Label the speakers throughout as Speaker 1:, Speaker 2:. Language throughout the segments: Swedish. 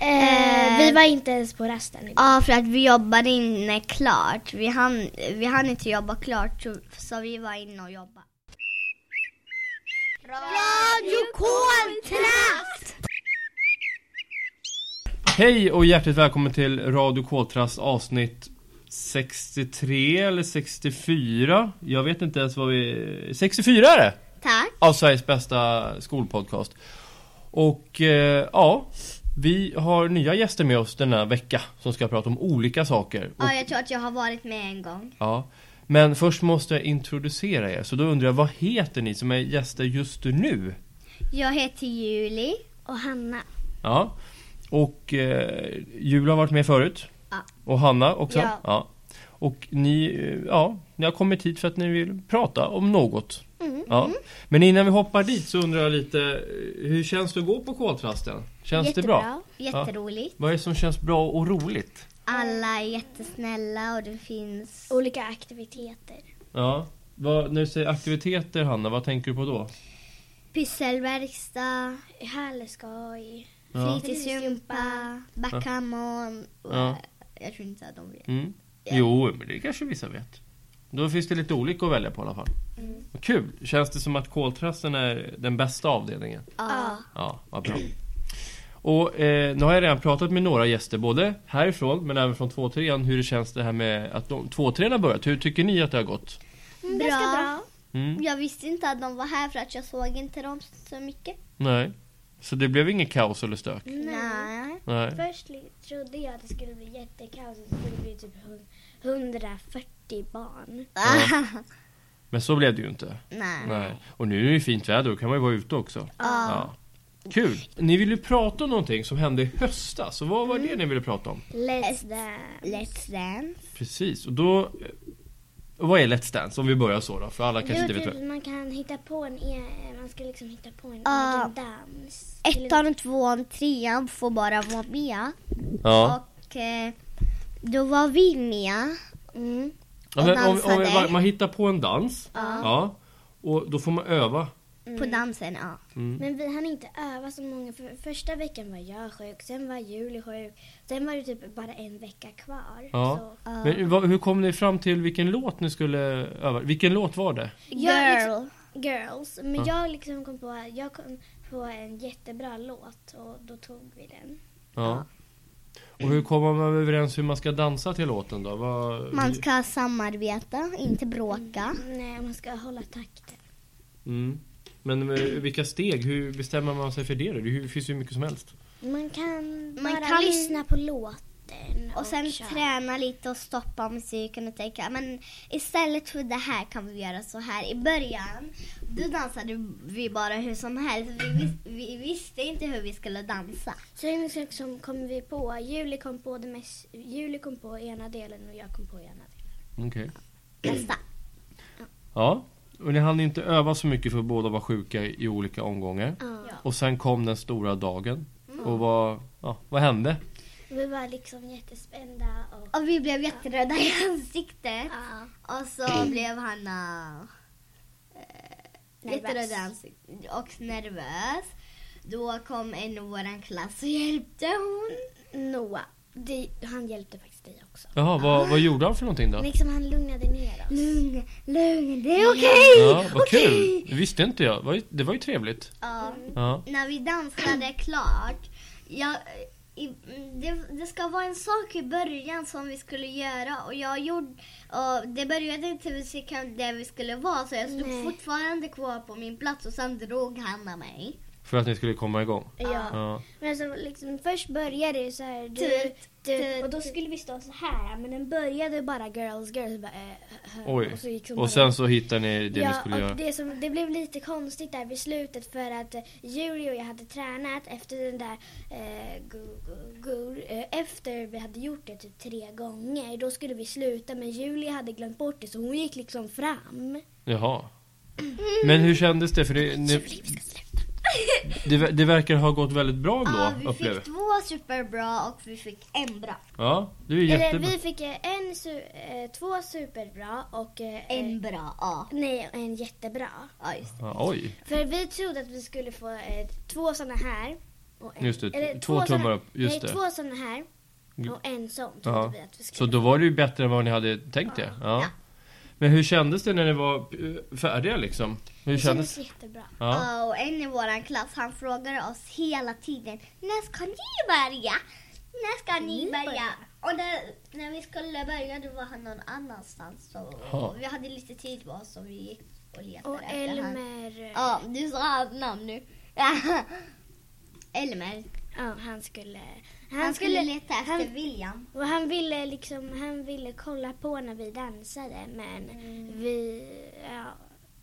Speaker 1: Eh, vi var inte ens på rasten. idag.
Speaker 2: Eh, Ja, för att vi jobbade inne klart. Vi hann, vi hann inte jobba klart, så, så vi var inne och jobbade. Radio Koltrast!
Speaker 3: Hej och hjärtligt välkommen till Radio Koltrast avsnitt 63 eller 64. Jag vet inte ens vad vi... 64 är det!
Speaker 2: Tack.
Speaker 3: Av Sveriges bästa skolpodcast. Och eh, ja, vi har nya gäster med oss denna vecka som ska prata om olika saker. Och,
Speaker 2: Ja, jag tror att jag har varit med en gång.
Speaker 3: ja. Men först måste jag introducera er, så då undrar jag vad heter ni som är gäster just nu?
Speaker 2: Jag heter Julie.
Speaker 1: Och Hanna.
Speaker 3: Ja. Och eh, Julia har varit med förut.
Speaker 2: Ja.
Speaker 3: Och Hanna också.
Speaker 2: Ja.
Speaker 3: Och ni, eh, ja, ni har kommit hit för att ni vill prata om något.
Speaker 2: Mm.
Speaker 3: Ja. Men innan vi hoppar dit så undrar jag lite, eh, hur känns det att gå på koltrasten? Känns det bra?
Speaker 2: Jätteroligt.
Speaker 3: Vad är det som känns bra och roligt?
Speaker 2: Alla är jättesnälla och det finns...
Speaker 1: Olika aktiviteter.
Speaker 3: Ja. Vad, när du säger aktiviteter Hanna, vad tänker du på då?
Speaker 2: Pysselverkstad,
Speaker 1: Härleskoj.
Speaker 3: Ja.
Speaker 2: fritidsgympa, backgammon. och,
Speaker 3: Ja.
Speaker 2: Jag tror inte att de vet.
Speaker 3: Mm. Jo, men det kanske vissa vet. Då finns det lite olika att välja på i alla fall.
Speaker 2: Mm.
Speaker 3: Vad Kul! Känns det som att koltrasten är den bästa avdelningen?
Speaker 2: Ja.
Speaker 3: Ja, vad bra. Och eh, nu har jag redan pratat med några gäster, både härifrån men även från 2-3 hur det känns det här med att de 2-3 har börjat. Hur tycker ni att det har gått?
Speaker 2: Bra.
Speaker 1: Ganska bra.
Speaker 3: Mm.
Speaker 2: Jag visste inte att de var här för att jag såg inte dem så mycket.
Speaker 3: Nej. Så det blev inget kaos eller stök?
Speaker 2: Nej.
Speaker 3: Nej.
Speaker 1: Först li- trodde jag att det skulle bli jättekaos och så skulle det bli typ hun- 140 barn.
Speaker 3: Ja. Men så blev det ju inte.
Speaker 2: Nej.
Speaker 3: Nej. Och nu är det ju fint väder, då kan man ju vara ute också.
Speaker 2: Ja.
Speaker 3: Ja. Kul! Ni ville ju prata om någonting som hände i höstas, så vad var det ni ville prata om?
Speaker 1: Let's dance.
Speaker 2: Let's dance.
Speaker 3: Precis, och då... eh, Vad är Let's Dance? Om vi börjar så då, för alla kanske
Speaker 1: Jo,
Speaker 3: inte vet
Speaker 1: typ
Speaker 3: vad...
Speaker 1: man kan hitta på en e- man ska liksom hitta på en
Speaker 2: Ja.
Speaker 1: egen dans. Eller-
Speaker 2: Ettan, tvåan, trean får bara vara med.
Speaker 3: Ja.
Speaker 2: Och eh, då var vi med. Mm.
Speaker 3: Ja,
Speaker 2: Och
Speaker 3: men om, om,
Speaker 2: dansade.
Speaker 3: man hittar på en dans.
Speaker 2: Ja. Mm.
Speaker 3: Ja. Och då får man öva.
Speaker 2: eh, På dansen, ja.
Speaker 1: Men vi hann inte öva så många. För första veckan var jag sjuk, sen var Julie sjuk. Sen var det typ bara en vecka kvar.
Speaker 3: Ja.
Speaker 1: Så.
Speaker 3: Men vad, hur kom ni fram till vilken låt ni skulle öva? Vilken låt var det?
Speaker 1: Jag
Speaker 2: Girl.
Speaker 1: liksom- Girls. Men jag liksom kom på, jag kom på en jättebra låt och då tog vi den.
Speaker 3: Ja. Och hur kommer man överens hur man ska dansa till låten då? Vad,
Speaker 2: Man ska samarbeta, inte bråka.
Speaker 1: Nej, man ska hålla takten.
Speaker 3: mm. Men eh, vilka steg? Hur bestämmer man sig för det? då? Det ju- finns ju mycket som helst.
Speaker 1: Man kan
Speaker 2: Man
Speaker 1: bara
Speaker 2: kan-
Speaker 1: lyssna på låten och,
Speaker 2: Och sen
Speaker 1: köra.
Speaker 2: träna lite och stoppa musiken och tänka men istället för det här kan vi göra så här. I början då dansade vi bara hur som helst. Vi, vis- vi visste inte hur vi skulle dansa.
Speaker 1: Sen liksom kom vi på, Julie kom på, det mest, Julie kom på ena delen och jag kom på ena delen.
Speaker 3: Okej.
Speaker 2: Nästa.
Speaker 3: Ja. Och ni hann ju inte öva så mycket för båda var sjuka i olika omgångar.
Speaker 1: Ja.
Speaker 3: Och sen kom den stora dagen. Och vad, ja, vad hände?
Speaker 1: Vi var liksom jättespända och
Speaker 2: Och vi blev jätteröda i ansiktet.
Speaker 1: ja.
Speaker 2: Och så blev Hanna eh,
Speaker 1: Nervös.
Speaker 2: jätteröd i ansiktet och nervös. Då kom en i vår klass och hjälpte hon.
Speaker 1: Noah, det, han hjälpte faktiskt dig också.
Speaker 3: Jaha, vad, vad gjorde han för någonting då?
Speaker 1: Liksom han lugnade ner oss.
Speaker 2: Lugn, lugn, det är okej!
Speaker 3: Ja, vad
Speaker 2: okej.
Speaker 3: kul! Det visste inte jag. Det var ju, det var ju trevligt.
Speaker 2: Ja.
Speaker 3: Ja.
Speaker 2: när vi dansade klart. Jag, i, mm, det, det ska vara en sak i början som vi skulle göra och jag gjorde, och det började inte vid sekund där vi skulle vara så jag stod
Speaker 1: Nej.
Speaker 2: fortfarande kvar på min plats och sen drog Hanna mig.
Speaker 3: För att ni skulle komma igång.
Speaker 1: Ja.
Speaker 3: Ja.
Speaker 1: Men alltså, liksom, först började det så här. Du,
Speaker 2: Tut,
Speaker 1: du,
Speaker 2: tut,
Speaker 1: och då skulle vi stå så här. Men den började bara girls, girls. Bara, eh, eh,
Speaker 3: Oj.
Speaker 1: så gick de bara-
Speaker 3: Och sen så hittade ni det ni
Speaker 1: ja,
Speaker 3: skulle
Speaker 1: och
Speaker 3: göra.
Speaker 1: Det, som, det blev lite konstigt där vid slutet för att eh, Julie och jag hade tränat efter den där eh, gu, gu, gu, eh, Efter vi hade gjort det typ tre gånger då skulle vi sluta men Julie hade glömt bort det så hon gick liksom fram.
Speaker 3: Jaha. Men hur kändes det? För det, ni, det, ver- det verkar ha gått väldigt bra
Speaker 2: Ja,
Speaker 3: ändå,
Speaker 2: vi
Speaker 3: upplever
Speaker 2: fick två superbra och vi fick en bra.
Speaker 3: Ja, det är ju
Speaker 1: Eller
Speaker 3: jättebra.
Speaker 1: vi fick eh, en, su, eh, två superbra och eh,
Speaker 2: En bra, ja.
Speaker 1: Nej, en jättebra.
Speaker 2: ja just det.
Speaker 3: Ja, oj.
Speaker 1: För vi trodde att vi skulle få eh, två sådana här Och
Speaker 3: Just det,
Speaker 1: eller
Speaker 3: två tummar upp, just
Speaker 1: nej,
Speaker 3: det.
Speaker 1: två sådana här
Speaker 3: Mm.
Speaker 1: och en sån.
Speaker 3: Ja.
Speaker 1: trodde vi att vi
Speaker 3: Så
Speaker 1: skulle.
Speaker 3: då var det ju bättre än vad ni hade tänkt er. Ja.
Speaker 2: Ja.
Speaker 3: Men hur kändes det när ni var eh, färdiga liksom? Hur
Speaker 1: det
Speaker 3: kändes
Speaker 1: kändes jättebra.
Speaker 3: Ja.
Speaker 2: Ja, Och en i vår klass han frågar oss hela tiden När ska ni börja? När ska ni
Speaker 1: Ni
Speaker 2: börja?
Speaker 1: börjar.
Speaker 2: Och när, när vi skulle börja då var han någon annanstans så
Speaker 3: Ja.
Speaker 2: vi hade lite tid på oss och vi gick och letade
Speaker 1: Och
Speaker 2: efter han.
Speaker 1: Elmer, eh,
Speaker 2: Ja, du sa hans namn nu. Elmer.
Speaker 1: ja, han skulle...
Speaker 2: Han, skulle, leta efter
Speaker 1: han-
Speaker 2: William.
Speaker 1: Och han ville liksom, han ville kolla på när vi dansade men
Speaker 2: Mm.
Speaker 1: vi, ja,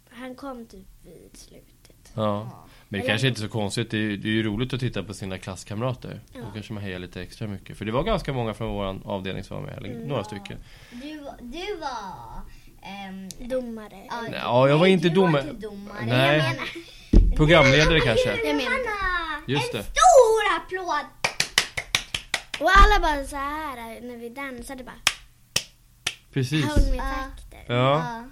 Speaker 1: han kom typ vid slutet.
Speaker 3: ja. Men det kanske inte är så konstigt. Det är, ju- det är ju roligt att titta på sina klasskamrater. Då
Speaker 1: Ja.
Speaker 3: kanske man hejar lite extra mycket. För det var ganska många från vår avdelning som var med. Eller några stycken.
Speaker 2: Du, du var... ehm,
Speaker 1: Domare.
Speaker 2: ja,
Speaker 3: Nej, ja, jag var
Speaker 2: nej,
Speaker 3: inte
Speaker 2: du
Speaker 3: domare.
Speaker 2: Var inte domare.
Speaker 3: Nej.
Speaker 2: Jag menar,
Speaker 3: Programledare kanske?
Speaker 1: Jag menar-
Speaker 2: Hanna!
Speaker 3: Just
Speaker 2: en
Speaker 3: det.
Speaker 2: stor applåd!
Speaker 1: Och alla bara så här eh, när vi dansade bara, höll
Speaker 3: Precis.
Speaker 1: med
Speaker 2: Ja.
Speaker 1: takten.
Speaker 3: Ja.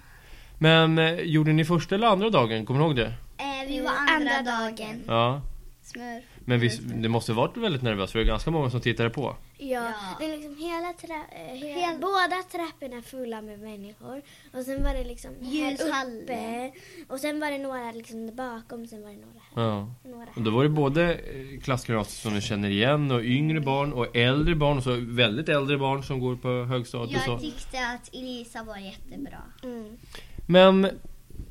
Speaker 3: Men eh, gjorde ni första eller andra dagen? Kommer ni ihåg det?
Speaker 2: Eh, vi var andra,
Speaker 1: Mm, Andra
Speaker 2: dagen.
Speaker 1: dagen.
Speaker 3: Ja.
Speaker 2: Smör.
Speaker 3: Men visst, det måste varit väldigt nervöst för det är ganska många som tittade på.
Speaker 1: Ja,
Speaker 2: Ja.
Speaker 1: det är liksom hela tra- eh, hela,
Speaker 2: Hel-
Speaker 1: båda trapporna fulla med människor. Och sen var det liksom här
Speaker 2: Ljushallen.
Speaker 1: uppe. Och sen var det några liksom där bakom, sen var det några här.
Speaker 3: Ja.
Speaker 1: Några
Speaker 3: Och
Speaker 1: här.
Speaker 3: då var det både eh, klasskamrater som du känner igen och yngre barn och äldre barn och så väldigt äldre barn som går på högstadiet och
Speaker 2: Jag
Speaker 3: så.
Speaker 2: tyckte att Elisa var jättebra.
Speaker 1: Mm.
Speaker 3: Men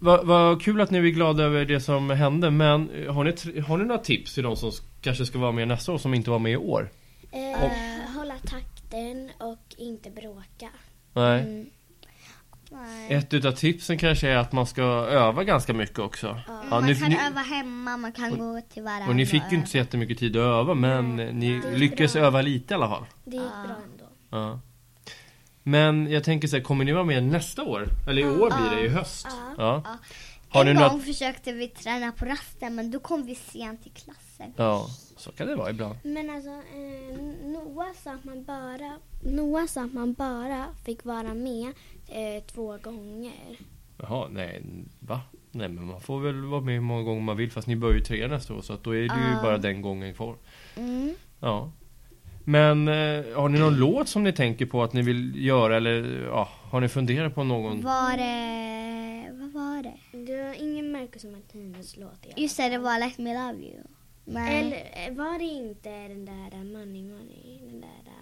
Speaker 3: vad vad kul att ni är glada över det som hände men eh, har ni, tr- har ni några tips till de som s- kanske ska vara med nästa år som inte var med i år?
Speaker 1: Eh,
Speaker 2: Och-
Speaker 1: Hålla takten och inte bråka.
Speaker 3: Nej.
Speaker 1: Mm.
Speaker 2: Nej.
Speaker 3: Ett utav tipsen kanske är att man ska öva ganska mycket också. Ja,
Speaker 2: man
Speaker 3: ni,
Speaker 2: kan
Speaker 3: ni,
Speaker 2: öva hemma, man kan gå till varandra.
Speaker 3: och ni fick ju inte så jättemycket tid att öva men eh, ni
Speaker 1: Det är
Speaker 3: lyckades
Speaker 1: bra.
Speaker 3: öva lite i alla fall.
Speaker 1: Det gick
Speaker 2: Ja.
Speaker 1: bra ändå.
Speaker 3: Ja. Men jag tänker så här, kommer ni vara med nästa år? Eller i år blir det, i höst.
Speaker 1: Ja.
Speaker 3: Ja.
Speaker 2: Ja.
Speaker 3: Har
Speaker 2: en
Speaker 3: ni
Speaker 2: gång
Speaker 3: något?
Speaker 2: försökte vi träna på rasten men då kom vi sent till klassen.
Speaker 3: Ja, så kan det vara ibland.
Speaker 1: Men alltså, eh, Noah sa att man bara, Noah sa att man bara fick vara med eh, två gånger.
Speaker 3: Jaha, nej, va? Nej men man får väl vara med hur många gånger man vill fast ni börjar ju tre nästa år så att då är det ju
Speaker 2: Ja.
Speaker 3: bara den gången kvar.
Speaker 2: Mm.
Speaker 3: Mm. Ja. Men eh, har ni någon låt som ni tänker på att ni vill göra eller ja, har ni funderat på någon?
Speaker 2: Var det... Vad var det?
Speaker 1: Det var ingen Marcus och Martinus låt i alla
Speaker 2: Just det, det var Let Me Love You. Nej.
Speaker 1: Eller eh, var det inte den där eh, Money Money? Den där...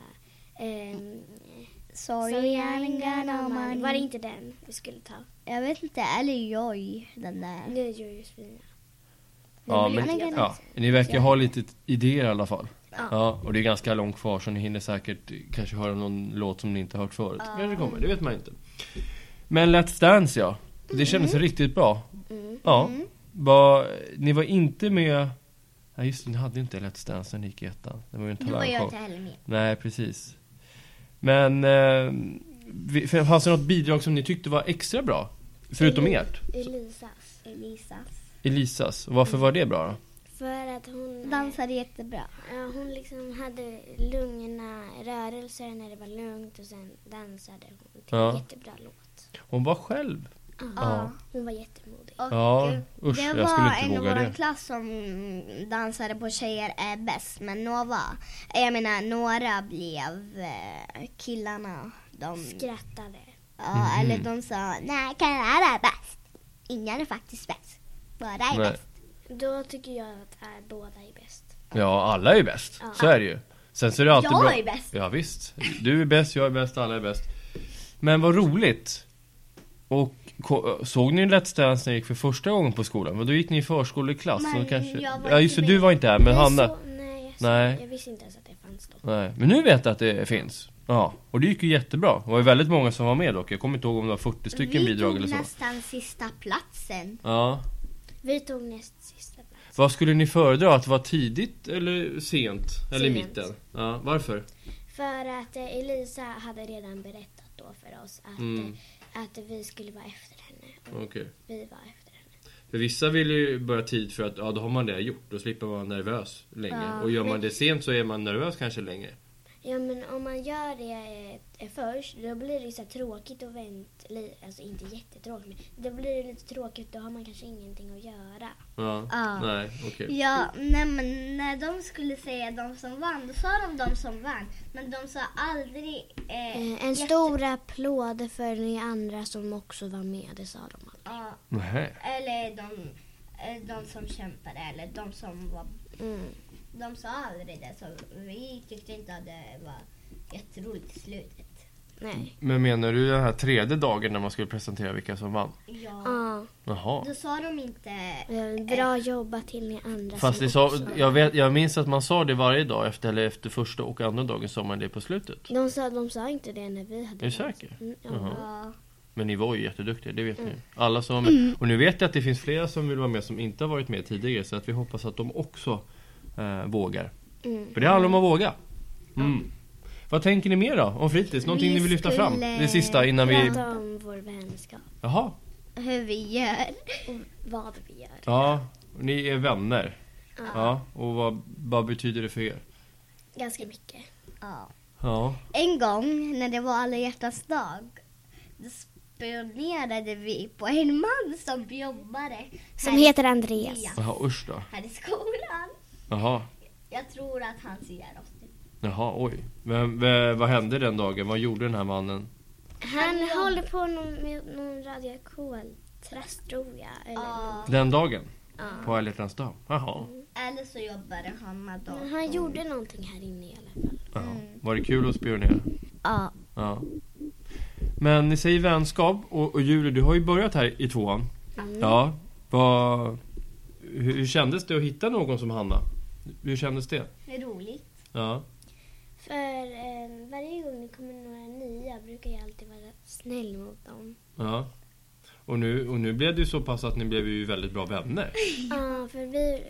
Speaker 1: Eh,
Speaker 2: Mm. Sorry,
Speaker 1: Sorry,
Speaker 2: I
Speaker 1: I ain't
Speaker 2: ain't got no money. Mm.
Speaker 1: Var det inte den vi skulle ta?
Speaker 2: Jag vet inte, eller Joy, den där.
Speaker 1: Nu är ju Josefina.
Speaker 3: Ja,
Speaker 1: Den
Speaker 3: men,
Speaker 1: vill jag
Speaker 3: ja,
Speaker 1: också.
Speaker 3: ni verkar ha lite t- idéer i alla fall.
Speaker 1: Ja.
Speaker 3: Ja, och det är ganska långt kvar så ni hinner säkert eh, kanske höra någon låt som ni inte hört förut. Kanske kommer, det vet man inte. Men Let's Dance ja, det kändes riktigt bra.
Speaker 1: Mm.
Speaker 3: Ja, var, ni var inte med... Nej just det, ni hade ju inte Let's Dance när ni gick i ettan. Det var ju en
Speaker 2: Då var jag
Speaker 3: talangshow.
Speaker 2: inte heller med.
Speaker 3: Nej, precis. Men eh, vi- för- fanns det något bidrag som ni tyckte var extra bra? Förutom
Speaker 2: Eh,
Speaker 1: Eli-
Speaker 3: ert?
Speaker 1: Elisas.
Speaker 2: Elisa.
Speaker 3: Elisas. Och varför var det bra då?
Speaker 1: För att hon... eh,
Speaker 2: Dansade jättebra.
Speaker 1: Ja, hon liksom hade lugna rörelser när det var lugnt och sen dansade hon till
Speaker 3: Ja.
Speaker 1: en jättebra låt.
Speaker 3: Hon var själv. Ja.
Speaker 1: Hon var jättemodig.
Speaker 2: Och
Speaker 3: Ja,
Speaker 2: eh,
Speaker 3: usch,
Speaker 2: det
Speaker 3: jag
Speaker 2: var
Speaker 3: skulle inte
Speaker 2: en i
Speaker 3: våga
Speaker 2: vår
Speaker 3: det.
Speaker 2: klass som dansade på tjejer är bäst, men några, eh, jag menar några blev eh, killarna. De,
Speaker 1: Skrattade.
Speaker 2: ja, Eller
Speaker 3: Mhm.
Speaker 2: de sa, nej killar är bäst. Ingen är faktiskt bäst. Bara är
Speaker 3: Nej.
Speaker 2: bäst.
Speaker 1: Då tycker jag att eh, båda är bäst.
Speaker 3: Ja, alla är ju bäst.
Speaker 1: Ja.
Speaker 3: Så är det ju. Sen så är det alltid
Speaker 2: Jag
Speaker 3: bra.
Speaker 2: är bäst.
Speaker 3: Ja, visst. Du är bäst, jag är bäst, alla är bäst. Men vad roligt. Och ko- såg ni Let's Dance när ni gick för första gången på skolan? Men då gick ni i förskoleklass.
Speaker 2: Men
Speaker 3: så kanske...
Speaker 2: jag var
Speaker 3: Ja, just det,
Speaker 2: inte
Speaker 3: du
Speaker 2: med.
Speaker 3: var inte här, men
Speaker 1: Jag
Speaker 3: Hanna.
Speaker 1: Så, nej, jag,
Speaker 3: Nej.
Speaker 1: Så, jag visste inte ens att det fanns då.
Speaker 3: Nej, men nu vet jag att det finns. Ja, och det gick ju jättebra. Det var ju väldigt många som var med dock. Jag kommer inte ihåg om det var 40 stycken
Speaker 2: Vi
Speaker 3: bidrag
Speaker 2: tog
Speaker 3: eller så.
Speaker 2: nästan sista platsen.
Speaker 3: Ja.
Speaker 1: Vi tog näst sista plats.
Speaker 3: Vad skulle ni föredra? Att vara tidigt eller sent? Eller i
Speaker 1: Sent.
Speaker 3: mitten? Ja, varför?
Speaker 1: För att eh, Elisa hade redan berättat då för oss att,
Speaker 3: Mm.
Speaker 1: eh, att vi skulle vara efter henne. Och
Speaker 3: Okej.
Speaker 1: vi var efter henne.
Speaker 3: För vissa vill ju börja tid för att ja, då har man det gjort. Då slipper man vara nervös länge.
Speaker 2: Ja.
Speaker 3: Och gör man det sent så är man nervös kanske länge.
Speaker 1: Ja men om man gör det eh, först då blir det ju så här tråkigt och vänt, li- alltså inte jättetråkigt men då blir det lite tråkigt då har man kanske ingenting att göra.
Speaker 3: Ja.
Speaker 2: Ja.
Speaker 3: Nej, okej.
Speaker 2: Ja, nej men när de skulle säga de som vann, då sa de de som vann. Men de sa aldrig... Eh,
Speaker 1: Eh, en
Speaker 2: jätte-
Speaker 1: stor applåd för ni andra som också var med, det sa de alla.
Speaker 2: Ja,
Speaker 3: Nej.
Speaker 2: eller de, eh, de som kämpade, eller de som var...
Speaker 1: Mm.
Speaker 2: De sa aldrig det, så vi tyckte inte att det var jätteroligt i slutet.
Speaker 1: Nej.
Speaker 3: Men menar du den här tredje dagen när man skulle presentera vilka som vann?
Speaker 2: Ja,
Speaker 1: Ja.
Speaker 3: Jaha.
Speaker 2: då sa de inte...
Speaker 1: eh, Bra jobbat till ni andra
Speaker 3: Fast
Speaker 1: som
Speaker 3: det sa,
Speaker 1: också-
Speaker 3: jag, vet, jag minns att man sa det varje dag efter, eller efter första och andra dagen sa man det på slutet.
Speaker 1: De sa, de sa inte det när vi hade
Speaker 3: Är du säker?
Speaker 1: Mm, ja.
Speaker 3: Jaha.
Speaker 2: Ja,
Speaker 3: Men ni var ju jätteduktiga, det vet ni ni. Alla som var med. Och nu vet jag att det finns flera som vill vara med som inte har varit med tidigare. Så att vi hoppas att de också eh, vågar.
Speaker 1: Mm.
Speaker 3: För det handlar om att våga. Mm. Vad tänker ni mer då om fritids? Någonting
Speaker 2: Vi
Speaker 3: ni vill lyfta fram?
Speaker 2: skulle
Speaker 3: Det sista innan vi...
Speaker 1: Prata om vår vänskap
Speaker 3: Jaha.
Speaker 2: hur vi gör.
Speaker 1: och vad vi gör.
Speaker 3: Ja. Ni är vänner.
Speaker 1: Ja.
Speaker 3: Ja. Och vad, vad betyder det för er?
Speaker 1: Ganska mycket.
Speaker 2: Ja.
Speaker 3: Ja.
Speaker 2: En gång när det var alla hjärtans dag då spionerade vi på en man som jobbade
Speaker 1: Som
Speaker 2: här, i-
Speaker 1: heter Andreas.
Speaker 2: Ja.
Speaker 3: Jaha, usch då.
Speaker 2: här i skolan.
Speaker 3: Jaha.
Speaker 2: Jag tror att han ser oss nu.
Speaker 3: Jaha, oj. Vem, vem, vad hände den dagen? Vad gjorde den här mannen?
Speaker 1: Han
Speaker 2: Hade de-
Speaker 1: håller på någon, med någon radiokoltrast tror jag. Eller
Speaker 2: Ja,
Speaker 3: Den dagen?
Speaker 1: någon-
Speaker 3: På alla hjärtans dag? Jaha.
Speaker 2: eller så jobbade han med
Speaker 1: Men
Speaker 2: dem.
Speaker 1: han gjorde någonting här inne i alla fall.
Speaker 3: Jaha. Var det kul att spionera?
Speaker 2: Ja.
Speaker 3: Ja. Men ni säger vänskap och, och Julie, du har ju börjat här i tvåan.
Speaker 1: Mm.
Speaker 3: Ja. Vad, hur, hur kändes det att hitta någon som Hanna? Hur kändes det?
Speaker 2: Det är roligt.
Speaker 3: Ja.
Speaker 1: För eh, varje gång det kommer några nya brukar jag alltid vara snäll mot dem.
Speaker 3: ja. Och, nu, och nu blev det ju så pass att ni blev ju väldigt bra vänner.
Speaker 1: Ja, för vi,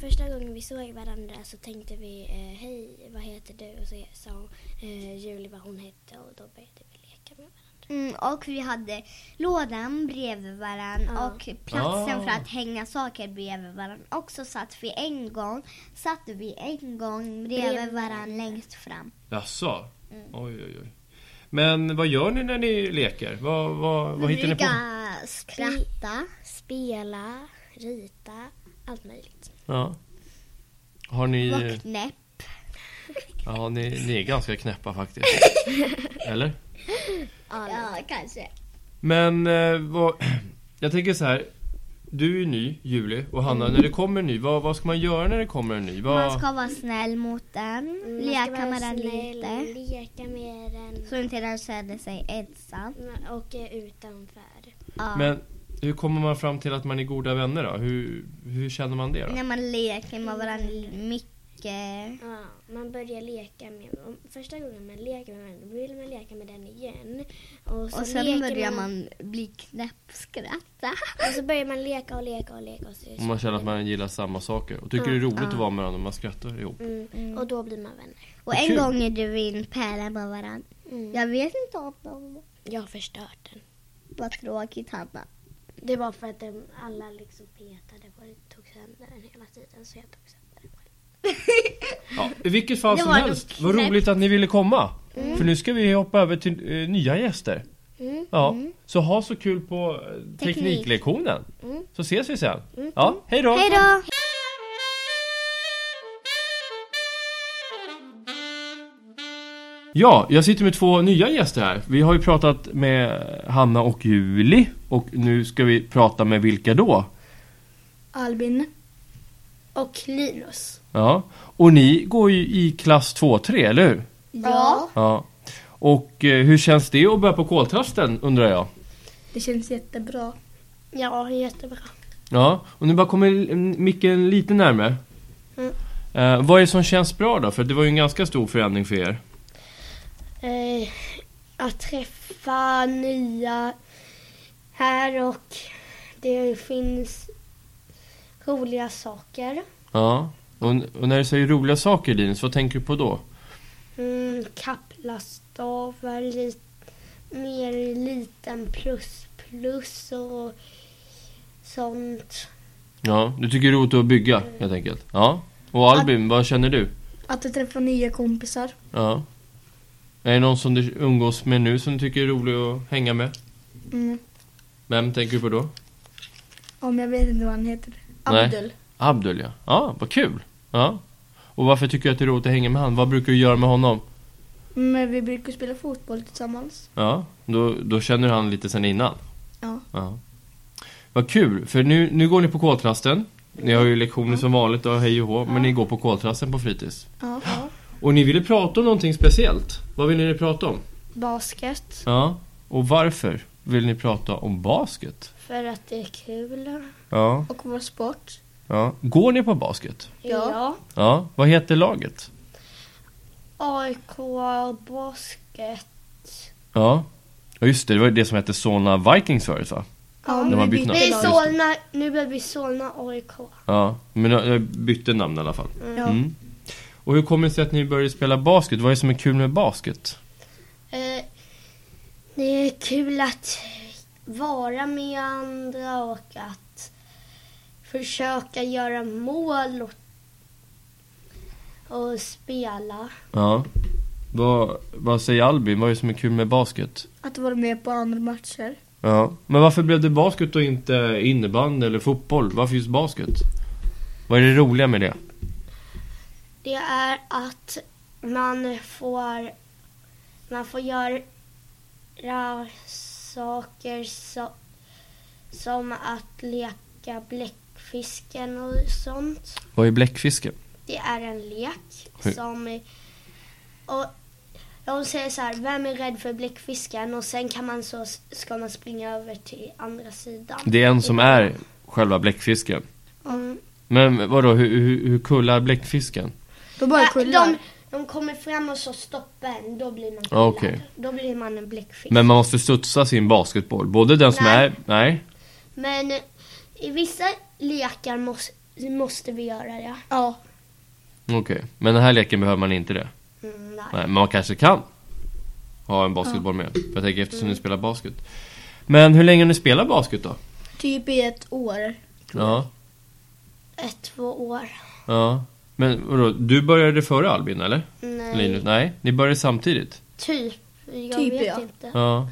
Speaker 1: första gången vi såg varandra så tänkte vi eh, hej, vad heter du? Och så sa hon, eh, Julie vad hon hette och då började vi leka med varandra.
Speaker 2: Mm, och vi hade lådan bredvid varandra
Speaker 1: Ja.
Speaker 2: och platsen
Speaker 3: Ah.
Speaker 2: för att hänga saker bredvid varandra. Och så satt vi en gång, satt vi en gång bredvid
Speaker 1: Bredvid
Speaker 2: varandra
Speaker 1: varandra.
Speaker 2: längst fram.
Speaker 3: Jaså? Oj, oj, oj. Men vad gör ni när ni leker? Vad, vad, vad hittar ni på?
Speaker 2: Brygga, skratta.
Speaker 1: Spela, rita, allt möjligt.
Speaker 3: Ja. Har ni...
Speaker 2: Vara knäpp.
Speaker 3: Ja, ni, ni är ganska knäppa faktiskt. Eller?
Speaker 2: Ja, kanske.
Speaker 3: Men eh, vad, jag tänker så här. Du är ju ny, Julie, och Hanna, när det kommer en ny, vad, vad ska man göra när det kommer en ny? Vad,
Speaker 2: Mm. Man ska vara snäll mot den.
Speaker 1: Mm, Man ska
Speaker 2: Leka
Speaker 1: vara
Speaker 2: med den
Speaker 1: snäll,
Speaker 2: lite.
Speaker 1: Leka med den
Speaker 2: Så inte den känner sig ensam.
Speaker 1: och eh, utanför.
Speaker 2: Ja.
Speaker 3: Men hur kommer man fram till att man är goda vänner då? Hur, hur känner man det då?
Speaker 2: När man leker med varandra mycket.
Speaker 1: Ja, man börjar leka med om- Första gången man leker med den, då vill man leka med den igen. Och, så
Speaker 2: Och sen
Speaker 1: leker
Speaker 2: börjar man bli knäppskratta.
Speaker 1: Och så börjar man leka och leka och leka. Och, så
Speaker 3: Om man känner att man gillar samma saker och tycker det är
Speaker 2: Mm.
Speaker 3: roligt att vara med varandra och man skrattar ihop.
Speaker 1: mm. och då blir man vänner.
Speaker 2: Och
Speaker 3: kul.
Speaker 2: en gång gjorde vi en pärla med varandra.
Speaker 1: Mm.
Speaker 2: Jag vet inte om de
Speaker 1: Jag har förstört den.
Speaker 2: var tråkigt, Hanna.
Speaker 1: Det var för att den, alla liksom petade på den, tog sönder den hela tiden. Så jag tog sönder den själv.
Speaker 3: Ja, I vilket fall
Speaker 2: Det
Speaker 3: som
Speaker 2: var
Speaker 3: helst,
Speaker 2: nog
Speaker 3: vad
Speaker 2: knäppt. Mm.
Speaker 3: roligt att ni ville komma! För nu ska vi hoppa över till eh, nya gäster.
Speaker 1: Mm.
Speaker 3: Ja, så ha så kul på eh, tekniklektionen. Så ses vi sen. Ja, hej då!
Speaker 2: Hej då!
Speaker 3: Ja, jag sitter med två nya gäster här. Vi har ju pratat med Hanna och Julie och nu ska vi prata med vilka då?
Speaker 4: Albin. Och Linus.
Speaker 3: Ja, och ni går ju i klass 2-3, eller hur?
Speaker 4: Ja.
Speaker 3: Ja. Och eh, hur känns det att börja på koltrasten undrar jag?
Speaker 4: Det känns jättebra.
Speaker 1: Ja, jättebra.
Speaker 3: Ja, och nu bara kommer l- micken lite närmare. Eh, vad är det som känns bra då? För det var ju en ganska stor förändring för er.
Speaker 4: Eh, att träffa nya här och det finns roliga saker.
Speaker 3: Ja, och, och när du säger roliga saker Linus, vad tänker du på då?
Speaker 4: Mm, Kaplastavar, li- mer liten plus plus och sånt.
Speaker 3: Ja, du tycker det är roligt att bygga helt enkelt? Ja. Och Albin, vad känner du?
Speaker 4: Att träffa nya kompisar.
Speaker 3: Ja. Är det någon som du umgås med nu som du tycker är rolig att hänga med?
Speaker 5: Mm.
Speaker 3: Vem tänker du på då?
Speaker 5: Om jag vet inte vad han heter.
Speaker 3: Nej.
Speaker 5: Abdul.
Speaker 3: Abdul ja. Ja, vad kul. Ja. Och varför tycker du att det är roligt att hänga med han? Vad brukar du göra med honom?
Speaker 5: Men vi brukar spela fotboll tillsammans.
Speaker 3: Ja, då, då känner han lite sen innan.
Speaker 5: Ja.
Speaker 3: ja. Vad kul, för nu, nu går ni på koltrasten. Ni har ju lektioner som vanligt och hej och hå, men ni går på koltrasten på fritids.
Speaker 5: Ja.
Speaker 3: Och ni ville prata om någonting speciellt. Vad ville ni prata om?
Speaker 1: Basket.
Speaker 3: Ja. Och varför vill ni prata om basket?
Speaker 1: För att det är kul.
Speaker 3: Ja.
Speaker 5: Och vår sport.
Speaker 3: ja. Går ni på basket?
Speaker 5: Ja.
Speaker 3: Ja. Vad heter laget?
Speaker 1: AIK Basket.
Speaker 3: Ja. Ja just det, det var ju det som hette Solna Vikings förut va?
Speaker 5: Ja,
Speaker 3: De har
Speaker 5: vi
Speaker 3: bytt
Speaker 5: byter
Speaker 3: namn.
Speaker 1: Nej,
Speaker 3: just
Speaker 5: lag.
Speaker 3: det.
Speaker 1: Solna. Nu blev vi Solna AIK.
Speaker 3: Ja. Men jag bytte namn i alla fall.
Speaker 5: Ja.
Speaker 3: Mm. Och hur kommer det sig att ni började spela basket? Vad är det som är kul med basket?
Speaker 1: Eh, det är kul att vara med andra och att försöka göra mål och, och spela.
Speaker 3: Ja. Vad, vad säger Albin? Vad är det som är kul med basket?
Speaker 5: Att vara med på andra matcher.
Speaker 3: Ja. Men varför blev det basket och inte innebandy eller fotboll? Varför just basket? Vad är det roliga med det?
Speaker 1: Det är att man får, man får göra saker so, som att leka bläckfisken och sånt.
Speaker 3: Vad är bläckfiske?
Speaker 1: Det är en lek
Speaker 3: Hur-
Speaker 1: som... är- Och de säger så här, vem är rädd för bläckfisken? Och sen kan man så, ska man springa över till andra sidan.
Speaker 3: Det är en som är själva bläckfisken.
Speaker 1: Mm.
Speaker 3: Men vadå, hur, hur, hur kullar bläckfisken?
Speaker 5: Då bara
Speaker 1: Äh,
Speaker 5: kullar.
Speaker 1: de, de kommer fram och så stoppar en, då blir man
Speaker 3: Ja,
Speaker 1: kullad.
Speaker 3: Ah, okej.
Speaker 1: Då blir man en bläckfisk.
Speaker 3: Men man måste studsa sin basketboll. Både den som
Speaker 1: Nej.
Speaker 3: är... Nej.
Speaker 1: Men eh, i vissa lekar måste, måste vi göra det.
Speaker 5: Ja.
Speaker 3: Okej. Men den här leken behöver man inte det.
Speaker 1: Mm, nej.
Speaker 3: Nej, men man kanske kan ha en basketboll med. För jag tänker eftersom ni spelar basket. Men hur länge har ni spelat basket då?
Speaker 5: Typ i ett år.
Speaker 3: Ja.
Speaker 1: Ett, två år.
Speaker 3: ja. Men vadå, du började före Albin eller?
Speaker 1: Nej.
Speaker 3: Linus? Nej, ni började samtidigt?
Speaker 1: Mm, Typ. Jag
Speaker 5: Typ,
Speaker 1: vet
Speaker 5: ja.
Speaker 1: inte.
Speaker 3: Ja.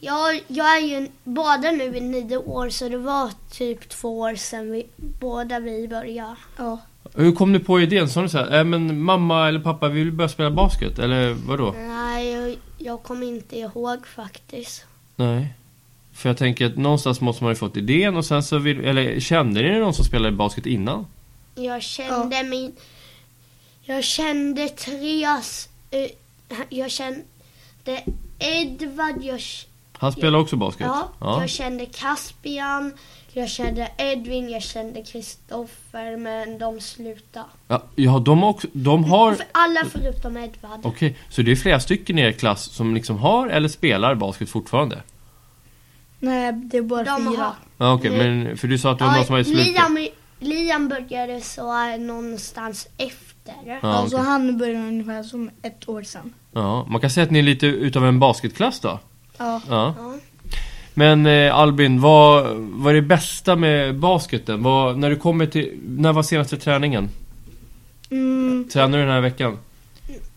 Speaker 1: Jag, jag är ju båda nu i nio år så det var typ två år sedan vi, båda vi började.
Speaker 5: Ja.
Speaker 3: Hur kom du på idén? Sa ni så här, äh, men mamma eller pappa vi vill börja spela basket? Eller vadå?
Speaker 1: Nej, jag, jag kommer inte ihåg faktiskt.
Speaker 3: Nej. För jag tänker att någonstans måste man ju fått idén och sen så vill, eller kände ni någon som spelade basket innan?
Speaker 1: Jag kände min... Jag kände Trias... eh, jag kände Edvard, jag
Speaker 3: Han spelade också basket?
Speaker 1: Ja,
Speaker 3: ja.
Speaker 1: jag kände Caspian, jag kände Edvin, jag kände Kristoffer, men de slutade.
Speaker 3: Ja, ja de, har också, de har...
Speaker 1: För alla förutom Edvard.
Speaker 3: Okej, så det är flera stycken i er klass som liksom har eller spelar basket fortfarande?
Speaker 5: Nej, det är bara
Speaker 1: De
Speaker 5: fyra.
Speaker 1: har-
Speaker 3: Ja, okej,
Speaker 5: Mm.
Speaker 3: men för du sa att det var någon som var i slutet?
Speaker 1: Liam, Liam började så här någonstans efter.
Speaker 3: Ja,
Speaker 5: alltså
Speaker 3: okej.
Speaker 5: han började ungefär som ett år sedan.
Speaker 3: ja, man kan säga att ni är lite utav en basketklass då?
Speaker 5: Ja.
Speaker 3: Ja.
Speaker 1: Ja.
Speaker 3: Men eh, Albin, vad, vad är det bästa med basketen? Vad, när du kommer till... När var senaste träningen?
Speaker 5: Mm,
Speaker 3: Tränar du den här veckan?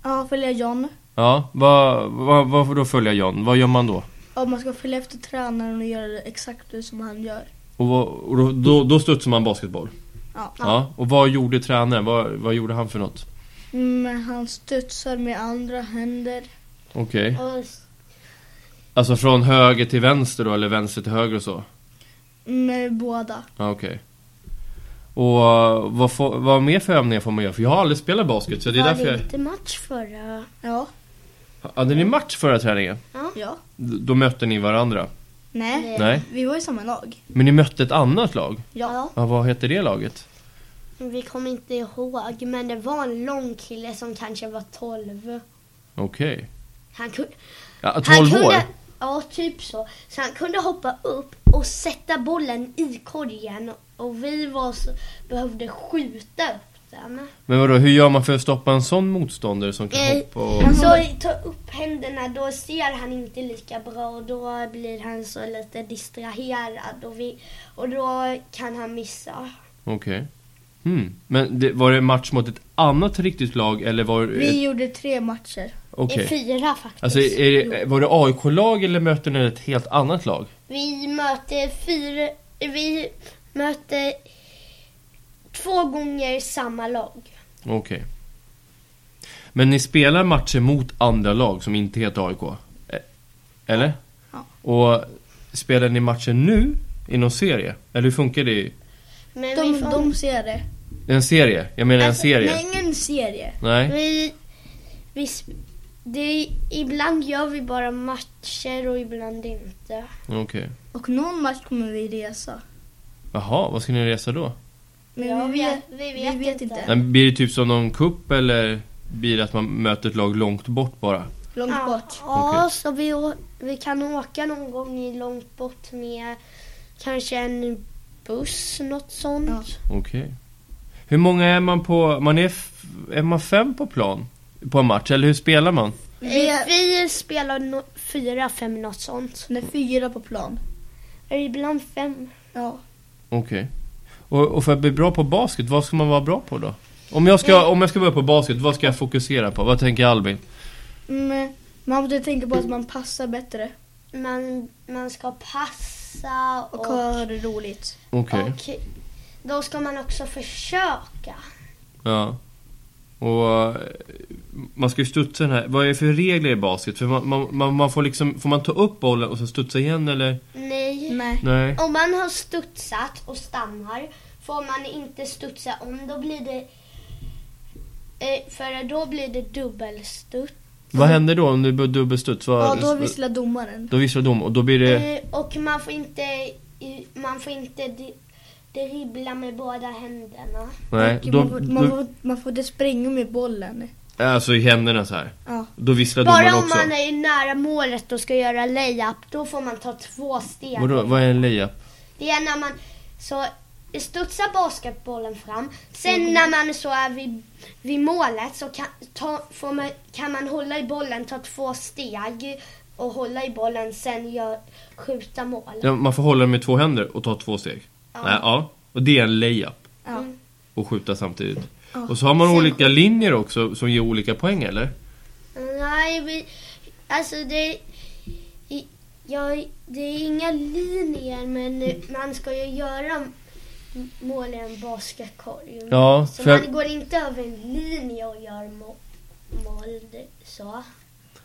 Speaker 5: ja, följa John.
Speaker 3: Ja, vad, vad, vad får då följa John? Vad gör man då?
Speaker 5: Ja, man ska följa efter tränaren och göra exakt det som han gör.
Speaker 3: Och, vad, och då, då, då studsar man basketboll?
Speaker 5: Ja.
Speaker 3: Ja. Och vad gjorde tränaren? Vad, vad gjorde han för något?
Speaker 5: Mm, han studsar med andra händer.
Speaker 3: Okej.
Speaker 1: Och
Speaker 3: Alltså från höger till vänster då, eller vänster till höger och så?
Speaker 5: Med båda.
Speaker 3: Ja, okej. Och uh, vad, får, vad mer för övningar får man göra? För jag har aldrig spelat basket, så det är
Speaker 1: var
Speaker 3: därför
Speaker 1: det
Speaker 3: jag...
Speaker 1: inte match förra?
Speaker 5: Ja.
Speaker 3: Hade ni match förra träningen?
Speaker 5: Ja.
Speaker 3: D- Då mötte ni varandra?
Speaker 5: Nej.
Speaker 1: Nej.
Speaker 3: Nej.
Speaker 5: Vi var i samma lag.
Speaker 3: Men ni mötte ett annat lag?
Speaker 5: Ja.
Speaker 3: Ja, vad heter det laget?
Speaker 1: Vi kommer inte ihåg, men det var en lång kille som kanske var 12.
Speaker 3: Okej.
Speaker 1: Han kunde,
Speaker 3: Ja,
Speaker 1: Han
Speaker 3: 12 år?
Speaker 1: kunde, Ja, typ så. Så han kunde hoppa upp och sätta bollen i korgen och vi var så, behövde skjuta upp den.
Speaker 3: Men vadå, hur gör man för att stoppa en sån motståndare som kan
Speaker 1: Eh,
Speaker 3: hoppa och...
Speaker 1: Så ta upp händerna, då ser han inte lika bra och då blir han så lite distraherad och, vi, och då kan han missa.
Speaker 3: Okej. Hmm. Men det, var det match mot ett annat riktigt lag eller var det...
Speaker 5: Vi gjorde tre matcher.
Speaker 3: Okej.
Speaker 1: I fyra faktiskt.
Speaker 3: Alltså, är det, var det AIK-lag eller mötte ni ett helt annat lag?
Speaker 1: Vi möter fyra... Vi möter två gånger samma lag.
Speaker 3: Okej. Men ni spelar matcher mot andra lag som inte heter AIK? E- Eller?
Speaker 5: Ja.
Speaker 3: Och spelar ni matcher nu i någon serie? Eller hur funkar det? i-
Speaker 1: Men
Speaker 5: De,
Speaker 1: vi, får,
Speaker 5: de ser det.
Speaker 3: En serie? Jag menar en
Speaker 5: Alltså,
Speaker 3: serie?
Speaker 5: Nej, ingen serie.
Speaker 3: Nej?
Speaker 1: vi, vi sp- det, Ibland gör vi bara matcher och ibland inte.
Speaker 3: Okej.
Speaker 5: Och någon match kommer vi resa.
Speaker 3: Jaha, vad ska ni resa då?
Speaker 5: Men
Speaker 1: Ja,
Speaker 5: vi,
Speaker 1: vi-
Speaker 5: vet,
Speaker 2: vi
Speaker 5: vi
Speaker 2: vet
Speaker 5: vet,
Speaker 2: inte.
Speaker 5: inte.
Speaker 3: Nej, Blir det typ som någon kupp eller blir det att man möter ett lag långt bort bara?
Speaker 5: Långt
Speaker 1: Ja,
Speaker 5: bort.
Speaker 1: Ja,
Speaker 3: Okej.
Speaker 1: så vi, å- vi kan åka någon gång i långt bort med kanske en buss, något sånt.
Speaker 5: Ja.
Speaker 3: Okej. Hur många är man på... Man är, f- är man fem på plan? På en match? Eller hur spelar man?
Speaker 5: Vi
Speaker 1: Eh,
Speaker 5: är,
Speaker 1: Vi spelar no- fyra, fem, något sånt.
Speaker 5: det är fyra på plan.
Speaker 1: Eller Ibland fem.
Speaker 5: Ja.
Speaker 3: Okej. Och, och för att bli bra på basket, vad ska man vara bra på då? Om jag ska, om jag ska börja på basket, vad ska jag fokusera på? Vad tänker Albin?
Speaker 5: Mm, man måste tänka på att man passar bättre
Speaker 1: Man, man ska passa och...
Speaker 5: och ha det roligt.
Speaker 3: Okej.
Speaker 1: och då ska man också försöka.
Speaker 3: Ja. Och eh, man ska ju studsa den här. Vad är det för regler i basket? För man, man, man, man får liksom, får man ta upp bollen och sen studsa igen eller?
Speaker 1: Nej.
Speaker 5: Nej.
Speaker 3: Nej.
Speaker 1: Om man har studsat och stannar får man inte studsa om. Då blir det... eh, För då blir det dubbelstuds.
Speaker 3: Vad händer då om du blir dubbelstuds?
Speaker 5: Ja,
Speaker 3: Vad,
Speaker 5: då visslar domaren.
Speaker 3: då visslar de och då blir det...
Speaker 1: Eh, Och man får inte... i- Man får inte dri- dribbla med båda händerna.
Speaker 3: nej.
Speaker 5: Och
Speaker 3: Då,
Speaker 5: man, får,
Speaker 3: då,
Speaker 5: man, får, man får inte springa med bollen.
Speaker 3: alltså i händerna så här.
Speaker 5: Ja.
Speaker 3: Då visslar
Speaker 1: Bara
Speaker 3: domaren
Speaker 1: om
Speaker 3: också.
Speaker 1: man är nära målet och ska göra layup, då får man ta två steg.
Speaker 3: Vadå, vad är en layup?
Speaker 1: Det är när man så studsar basketbollen fram.
Speaker 3: Mm.
Speaker 1: Sen när man så är vid, vid målet så kan, ta, får man, kan man hålla i bollen, ta två steg och hålla i bollen, sen gör, skjuta mål.
Speaker 3: Ja, man får hålla den med två händer och ta två steg. Ja. Nej, ja. Och det är en layup.
Speaker 5: Ja.
Speaker 3: Och skjuta samtidigt. Och så har man olika linjer också som ger olika poäng eller?
Speaker 1: Nej, vi, alltså det... i- Jag, det är inga linjer, men man ska ju göra m- mål i en basketkorg.
Speaker 3: Ja,
Speaker 1: så
Speaker 3: för-
Speaker 1: man går inte över en linje och gör må, mål. det- Så.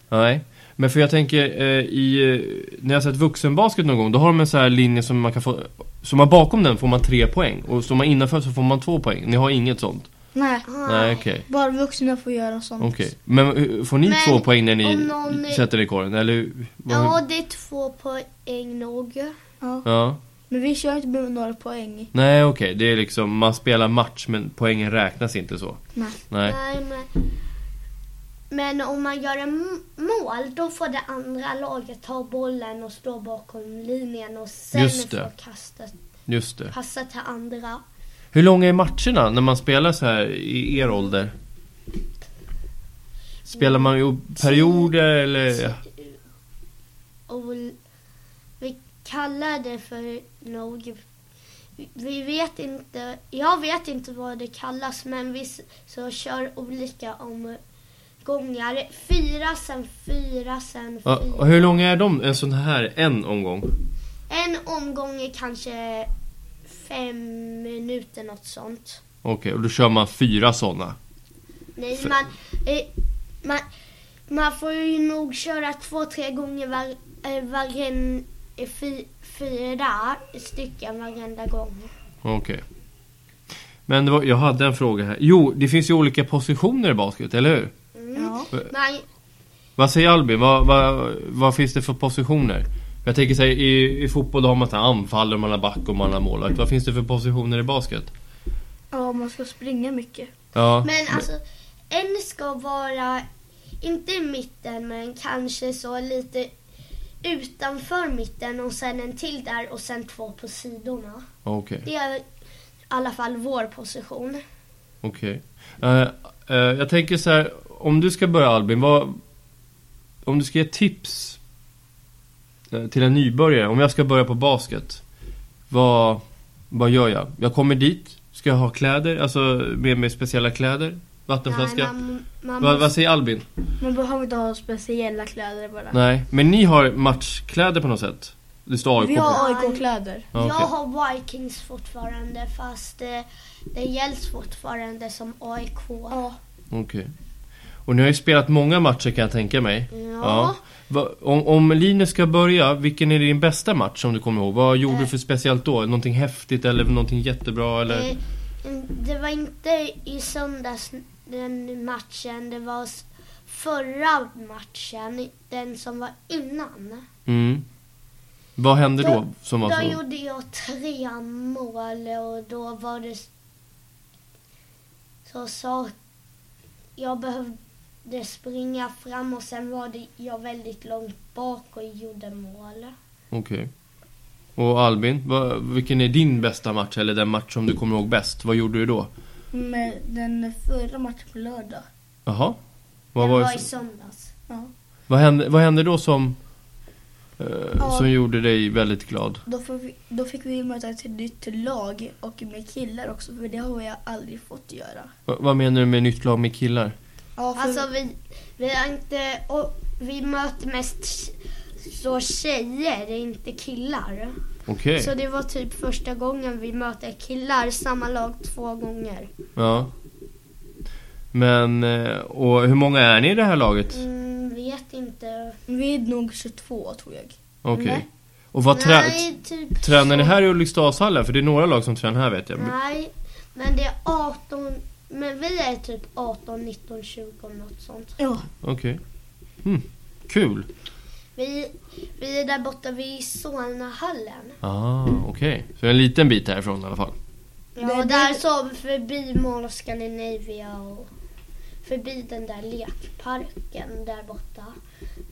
Speaker 3: Nej. Men för jag tänker eh, i, eh, när jag har sett vuxenbasket någon gång, då har de en sån här linje som man kan få, som man bakom den får man tre poäng och står man innanför så får man två poäng. Ni har inget sånt?
Speaker 5: Nej.
Speaker 3: Nej, okej.
Speaker 5: Bara vuxna får göra sånt.
Speaker 3: Okej. Men eh, får ni
Speaker 1: Men
Speaker 3: två poäng när ni
Speaker 1: om någon-
Speaker 3: sätter er i korgen? Eller hur-
Speaker 1: Ja, det är två poäng nog.
Speaker 5: Ja.
Speaker 3: ja.
Speaker 5: Men vi kör inte med några poäng.
Speaker 3: Nej, okej. Det är liksom, man spelar match men poängen räknas inte så.
Speaker 5: Nej.
Speaker 3: Nej.
Speaker 1: Nej, men, men om man gör en m- mål, då får det andra laget ta bollen och stå bakom linjen och sen
Speaker 3: Just det.
Speaker 1: få kastet
Speaker 3: Just det.
Speaker 1: passa till andra.
Speaker 3: Hur långa är matcherna när man spelar så här i er ålder? Spelar man ju perioder eller?
Speaker 1: Och vi kallar det för nog... Vi vet inte, jag vet inte vad det kallas men vi s- så kör olika omgångar. Fyra, sen fyra, sen
Speaker 3: Ja,
Speaker 1: fyra.
Speaker 3: och hur långa är de? En sån här, en omgång?
Speaker 1: En omgång är kanske fem minuter, något sånt.
Speaker 3: Okej, och då kör man fyra såna.
Speaker 1: Nej,
Speaker 3: Fe-
Speaker 1: man, eh, man, man får ju nog köra två, tre gånger var, eh, varen, eh, fy, fyra stycken varenda gång.
Speaker 3: Okej. Men det var, jag hade en fråga här. Jo, det finns ju olika positioner i basket, eller hur?
Speaker 5: Ja.
Speaker 1: Mm. Man,
Speaker 3: Vad säger Albin? Vad, vad, vad finns det för positioner? Jag tänker säga i, i fotboll då har man så här anfall, och man har back och man har målvakt. Vad finns det för positioner i basket?
Speaker 5: ja, man ska springa mycket.
Speaker 3: Ja,
Speaker 1: men alltså, en ska vara, inte i mitten, men kanske så lite utanför mitten och sen en till där och sen två på sidorna.
Speaker 3: okej.
Speaker 1: Det är i alla fall vår position.
Speaker 3: Okej. Eh, eh, jag tänker så här, om du ska börja Albin, vad, om du ska ge tips eh, till en nybörjare, om jag ska börja på basket, vad, vad gör jag? Jag kommer dit, ska jag ha kläder, alltså med mig speciella kläder? Vattenflaska?
Speaker 5: man, man,
Speaker 3: Va, vad säger Albin?
Speaker 5: man behöver inte ha speciella kläder bara.
Speaker 3: Nej, men ni har matchkläder på något sätt? Det står AIK
Speaker 5: Vi
Speaker 3: på.
Speaker 5: har AIK-kläder.
Speaker 1: Jag
Speaker 3: Ja, okej.
Speaker 1: har Vikings fortfarande fast eh, det gälls fortfarande som AIK. Ja.
Speaker 3: Okej. Och ni har ju spelat många matcher kan jag tänka mig.
Speaker 1: ja.
Speaker 3: Va, om, om Linus ska börja, vilken är din bästa match som du kommer ihåg? Vad gjorde
Speaker 1: Eh.
Speaker 3: du för speciellt då? Någonting häftigt eller någonting jättebra eller?
Speaker 1: Eh, Det var inte i söndags den matchen, det var s- förra matchen, den som var innan.
Speaker 3: Mm. Vad hände
Speaker 1: då-
Speaker 3: då? Som var
Speaker 1: Då
Speaker 3: så?
Speaker 1: gjorde jag tre mål och då var det s- så sa jag behövde springa fram och sen var det jag väldigt långt bak och gjorde mål.
Speaker 3: Okej. Och Albin, vad, vilken är din bästa match eller den match som du kommer ihåg bäst? Vad gjorde du då?
Speaker 5: Med den förra matchen på lördag.
Speaker 3: Jaha? Vad,
Speaker 1: Den
Speaker 3: var
Speaker 1: var
Speaker 3: det,
Speaker 1: i
Speaker 3: som-
Speaker 1: söndags.
Speaker 3: vad, hände, vad hände då som, eh, som gjorde dig väldigt glad?
Speaker 5: Då, får vi, då fick vi möta ett nytt lag och med killar också för det har jag aldrig fått göra.
Speaker 3: Va, vad menar du med nytt lag med killar?
Speaker 5: Ja, för
Speaker 1: Alltså vi, vi har inte, och vi möter mest så tjejer, inte killar.
Speaker 3: Okej.
Speaker 1: Så det var typ första gången vi möter killar, samma lag två gånger.
Speaker 3: Ja. Men, eh, och hur många är ni i det här laget?
Speaker 1: Mm, vet inte.
Speaker 5: eh, vi är nog 22 tror jag.
Speaker 3: Okej.
Speaker 1: nej.
Speaker 3: Och vad trä-
Speaker 1: Nej, typ
Speaker 3: tränar ni
Speaker 1: så.
Speaker 3: här i Ulriksdalshallen? För det är några lag som tränar här vet jag.
Speaker 1: Nej, men det är 18, men vi är typ 18, 19, 20 något sånt.
Speaker 5: Ja.
Speaker 3: Okej. Mm. Kul.
Speaker 1: Vi, vi är där borta vid Solnahallen.
Speaker 3: Ah, okej. Så en liten bit härifrån i alla fall.
Speaker 1: Ja, och där sov vi förbi Mall of Scandinavia och förbi den där lekparken där borta.